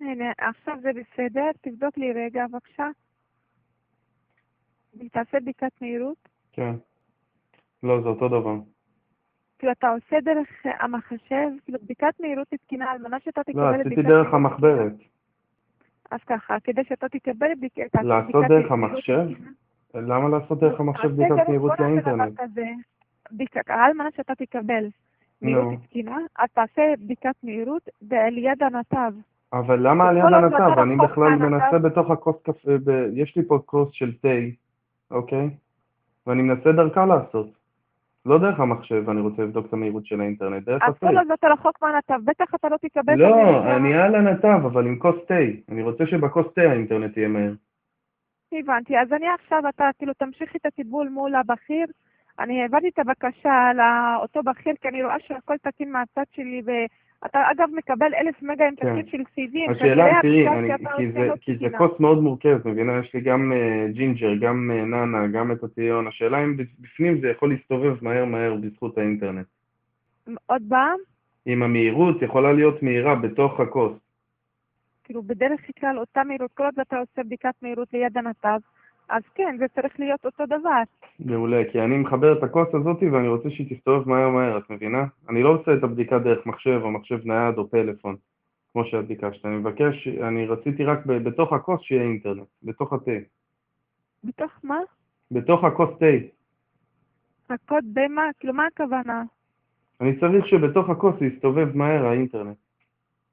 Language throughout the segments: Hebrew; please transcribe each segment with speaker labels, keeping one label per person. Speaker 1: הנה, עכשיו זה בסדר, תבדוק לי רגע בבקשה. תעשה בדיקת מהירות.
Speaker 2: כן. לא, זה אותו דבר.
Speaker 1: כאילו, אתה עושה דרך המחשב, כאילו, בדיקת מהירות היא תקינה על מנת שאתה תקבל
Speaker 2: לא,
Speaker 1: את
Speaker 2: עשיתי
Speaker 1: בדיקת
Speaker 2: דרך
Speaker 1: מהירות.
Speaker 2: המחברת.
Speaker 1: אז ככה, כדי שאתה תקבל את בדיקת תעשה
Speaker 2: לעשות
Speaker 1: בדיקת מהירות
Speaker 2: דרך המחשב?
Speaker 1: תקינה.
Speaker 2: למה לעשות דרך המחשב
Speaker 1: תעשה
Speaker 2: בדיקת
Speaker 1: דרך
Speaker 2: מהירות
Speaker 1: כל
Speaker 2: לאינטרנט?
Speaker 1: דבר כזה, בדיקה- על מנת שאתה תקבל מהירות
Speaker 2: נו.
Speaker 1: תקינה, אז תעשה בדיקת מהירות ב- ליד הנתב.
Speaker 2: אבל למה על יד
Speaker 1: כל עוד לא
Speaker 2: הנתב?
Speaker 1: אתה
Speaker 2: אני
Speaker 1: רחוק
Speaker 2: בכלל
Speaker 1: מהנתב.
Speaker 2: מנסה בתוך הכוס קפה, אה, ב- יש לי פה כוס של תה, אוקיי? ואני מנסה דרכה לעשות. לא דרך המחשב, אני רוצה לבדוק את המהירות של האינטרנט, דרך
Speaker 1: אז
Speaker 2: הפה.
Speaker 1: כל עוד אתה רחוק מהנתב, בטח אתה לא תקבל את
Speaker 2: לא,
Speaker 1: המהירות
Speaker 2: אני על הנתב, אבל עם כוס תה. אני רוצה שבכוס תה האינטרנט יהיה מהר.
Speaker 1: הבנתי, אז אני עכשיו, אתה כאילו תמשיך את הטיפול מול הבכיר. אני העברתי את הבקשה לאותו בכיר, כי אני רואה שהכל תקין מהצד שלי, ואתה אגב מקבל אלף מגה עם
Speaker 2: כן.
Speaker 1: תקציב של סיבים.
Speaker 2: השאלה,
Speaker 1: כנראה
Speaker 2: תראי,
Speaker 1: הבדיקה
Speaker 2: אני-
Speaker 1: שאתה
Speaker 2: כי
Speaker 1: עושה
Speaker 2: זה-
Speaker 1: לא
Speaker 2: כי זה
Speaker 1: תקינה.
Speaker 2: כוס מאוד מורכבת, מבינה? יש לי גם אה, ג'ינג'ר, גם אה, נאנה, גם את הטיון. השאלה אם בפנים זה יכול להסתובב מהר מהר בזכות האינטרנט.
Speaker 1: עוד פעם,
Speaker 2: אם המהירות יכולה להיות מהירה בתוך הכוס.
Speaker 1: כאילו בדרך כלל אותה מהירות, כל עוד אתה עושה בדיקת מהירות ליד הנתב, אז כן, זה צריך להיות אותו דבר.
Speaker 2: מעולה, כי אני מחבר את הכוס הזאת ואני רוצה שהיא תסתובב מהר מהר, את מבינה? אני לא רוצה את הבדיקה דרך מחשב או מחשב נייד או פלאפון, כמו שאת ביקשת. אני מבקש, אני רציתי רק ב- בתוך הכוס שיהיה אינטרנט, בתוך התה.
Speaker 1: בתוך מה?
Speaker 2: בתוך הכוס תה.
Speaker 1: הקוד במה? כאילו, מה הכוונה?
Speaker 2: אני צריך שבתוך הכוס יסתובב מהר האינטרנט.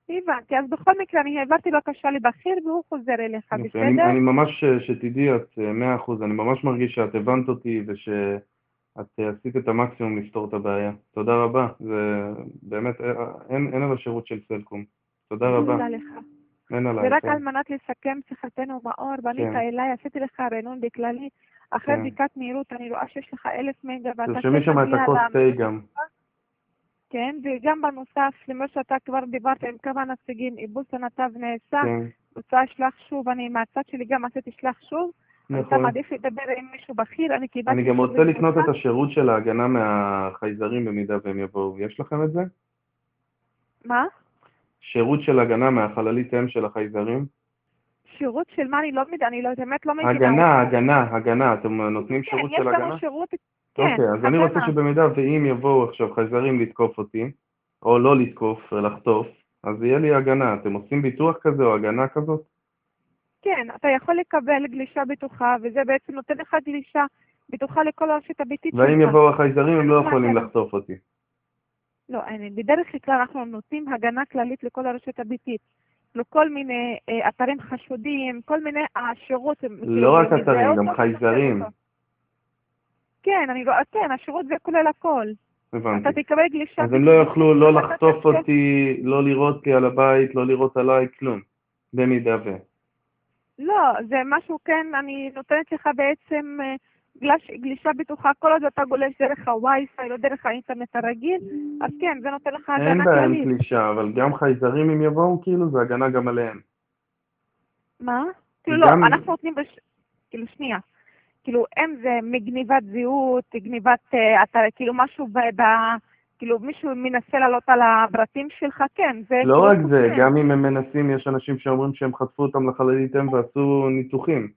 Speaker 1: הבנתי, אז בכל מקרה, אני העברתי בקשה לבכיר והוא חוזר אליך,
Speaker 2: יפה,
Speaker 1: בסדר?
Speaker 2: אני, אני ממש, אה, שתדעי, את אה, מאה אחוז, אני ממש מרגיש שאת הבנת אותי ושאת אה, עשית את המקסימום לפתור את הבעיה. תודה רבה, זה באמת, אה, אין, אין על השירות של סלקום. תודה רבה,
Speaker 1: תודה לך.
Speaker 2: אין עליי.
Speaker 1: ורק
Speaker 2: כן.
Speaker 1: על מנת לסכם שיחתנו מאור, פנית
Speaker 2: כן.
Speaker 1: אליי, עשיתי לך רענון בכללי, אחרי
Speaker 2: כן.
Speaker 1: בדיקת מהירות אני רואה שיש לך אלף מגה ואתה כן
Speaker 2: תרשמי שם את
Speaker 1: מגיע
Speaker 2: הכוס
Speaker 1: ל-
Speaker 2: תה גם.
Speaker 1: כן, וגם בנוסף, למה שאתה כבר דיברת עם כמה נציגים, עיבוס הנתב נעשה,
Speaker 2: כן,
Speaker 1: רוצה אשלח שוב, אני מהצד שלי גם עשיתי שלח שוב, אתה
Speaker 2: נכון.
Speaker 1: מעדיף לדבר עם מישהו בכיר, אני קיבלתי...
Speaker 2: אני גם
Speaker 1: שוב
Speaker 2: רוצה לקנות
Speaker 1: במכתב.
Speaker 2: את השירות של ההגנה מהחייזרים במידה והם יבואו. יש לכם את זה?
Speaker 1: מה?
Speaker 2: שירות של הגנה מהחללית אם של החייזרים?
Speaker 1: שירות של מה? אני לא מבינה, אני לא- באמת לא מבינה.
Speaker 2: הגנה, הגנה, הגנה. אתם נותנים
Speaker 1: כן,
Speaker 2: שירות
Speaker 1: יש
Speaker 2: של הגנה?
Speaker 1: לנו שירות, כן,
Speaker 2: אוקיי, אז אני רוצה
Speaker 1: הגנה.
Speaker 2: שבמידה ואם יבואו עכשיו חייזרים לתקוף אותי, או לא לתקוף, לחטוף, אז יהיה לי הגנה. אתם עושים ביטוח כזה או הגנה כזאת?
Speaker 1: כן, אתה יכול לקבל גלישה בטוחה, וזה בעצם נותן לך גלישה בטוחה לכל הרשת הביתית שלך.
Speaker 2: ואם יבואו החייזרים הם לא
Speaker 1: הגנה.
Speaker 2: יכולים לחטוף אותי.
Speaker 1: לא, אין, בדרך כלל אנחנו נותנים הגנה כללית לכל הרשת הביתית. לכל מיני אה, אתרים חשודים, כל מיני השירות.
Speaker 2: לא רק
Speaker 1: מזהה
Speaker 2: אתרים,
Speaker 1: אותו,
Speaker 2: גם חייזרים.
Speaker 1: אותו. כן, אני רואה, כן, השירות זה כולל הכל.
Speaker 2: הבנתי.
Speaker 1: אתה תקבל גלישה.
Speaker 2: אז הם לא יוכלו לא
Speaker 1: אתה
Speaker 2: לחטוף
Speaker 1: תעשה-
Speaker 2: אותי, לא לירות לי על הבית, לא לירות עליי, כלום. במידה ו...
Speaker 1: לא, זה משהו, כן, אני נותנת לך בעצם אה, גלש, גלישה בטוחה, כל עוד אתה גולש דרך הווי-פיי, לא דרך האינטרנט הרגיל, אז כן, זה נותן לך
Speaker 2: אין
Speaker 1: הגנה
Speaker 2: בהם
Speaker 1: כללית.
Speaker 2: פלישה, אבל גם חייזרים אם יבואו, כאילו, זה הגנה גם עליהם.
Speaker 1: מה? כאילו לא,
Speaker 2: גם-
Speaker 1: אנחנו נותנים, בש... כאילו שנייה, כאילו אם זה מגניבת זהות, גניבת, אה, אתה, כאילו משהו ב... ב... כאילו מישהו מנסה לעלות על הפרטים שלך, כן, זה...
Speaker 2: לא
Speaker 1: כאילו
Speaker 2: רק זה,
Speaker 1: חוקי.
Speaker 2: גם אם הם מנסים, יש אנשים שאומרים שהם חטפו אותם לחללית אם ועשו ניתוחים.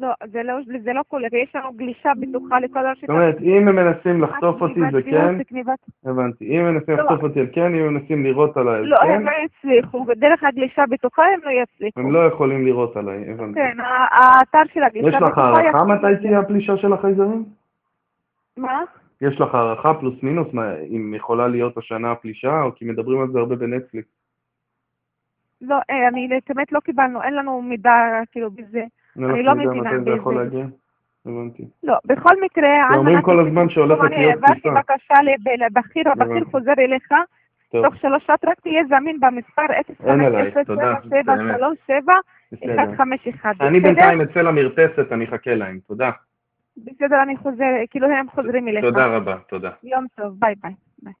Speaker 1: לא, זה לא, זה לא כולל, יש לנו גלישה בטוחה לכל הרשת.
Speaker 2: זאת אומרת, אם הם מנסים לחטוף אותי זה כן,
Speaker 1: גניבת...
Speaker 2: הבנתי. אם הם מנסים
Speaker 1: לא.
Speaker 2: לחטוף אותי על כן, אם הם מנסים לירות עליי על
Speaker 1: לא,
Speaker 2: כן,
Speaker 1: הם לא יצליחו, ודרך הגלישה הבטוחה הם לא יצליחו.
Speaker 2: הם לא יכולים לירות עליי, הבנתי.
Speaker 1: כן, ה- האתר של הגלישה
Speaker 2: יש לך
Speaker 1: הבטוחה...
Speaker 2: הערכה
Speaker 1: יכול-
Speaker 2: מתי תהיה הפלישה של החייזרים?
Speaker 1: מה?
Speaker 2: יש לך הערכה פלוס מינוס מה- אם יכולה להיות השנה הפלישה, או כי מדברים על זה הרבה בנטפליקס.
Speaker 1: לא, אה, אני באמת לא קיבלנו, אין לנו מידע כאילו בזה. אני לא מבינה
Speaker 2: מתי זה
Speaker 1: בזה.
Speaker 2: יכול להגיע? הבנתי.
Speaker 1: לא, בכל מקרה,
Speaker 2: כי אומרים
Speaker 1: על מנת
Speaker 2: כל
Speaker 1: לבדוק,
Speaker 2: הזמן שהולכת
Speaker 1: לא, אני
Speaker 2: להיות
Speaker 1: העברתי
Speaker 2: פלישה.
Speaker 1: בקשה לב- לבכיר, הבכיר
Speaker 2: הבנתי.
Speaker 1: חוזר אליך,
Speaker 2: טוב,
Speaker 1: תוך שלוש שעות רק תהיה זמין במספר
Speaker 2: אין עלייך, תודה,
Speaker 1: 05077373151.
Speaker 2: בסדר. אני
Speaker 1: בסדר?
Speaker 2: בינתיים אצא למרפסת, אני אחכה להם. תודה.
Speaker 1: בסדר, אני חוזר, כאילו הם חוזרים אליך.
Speaker 2: תודה רבה, תודה.
Speaker 1: יום טוב, ביי ביי.